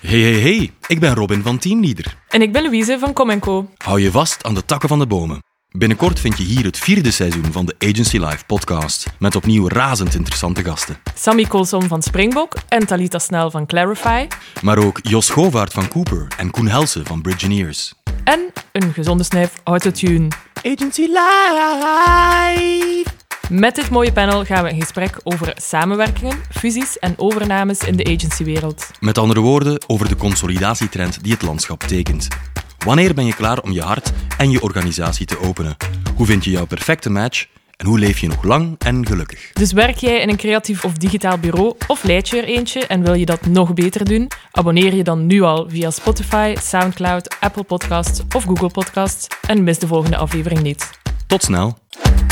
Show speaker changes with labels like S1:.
S1: Hey, hey, hey, ik ben Robin van Tienlieder.
S2: En ik ben Louise van Com Co.
S1: Hou je vast aan de takken van de bomen. Binnenkort vind je hier het vierde seizoen van de Agency Live podcast, met opnieuw razend interessante gasten.
S2: Sammy Colson van Springbok en Talita Snel van Clarify.
S1: Maar ook Jos Govaert van Cooper en Koen Helsen van Bridgineers.
S2: En een gezonde snijf autotune.
S1: Agency Live!
S2: Met dit mooie panel gaan we in gesprek over samenwerkingen, fusies en overnames in de agencywereld.
S1: Met andere woorden, over de consolidatietrend die het landschap tekent. Wanneer ben je klaar om je hart en je organisatie te openen? Hoe vind je jouw perfecte match? En hoe leef je nog lang en gelukkig?
S2: Dus werk jij in een creatief of digitaal bureau of leid je er eentje en wil je dat nog beter doen? Abonneer je dan nu al via Spotify, Soundcloud, Apple Podcasts of Google Podcasts en mis de volgende aflevering niet.
S1: Tot snel!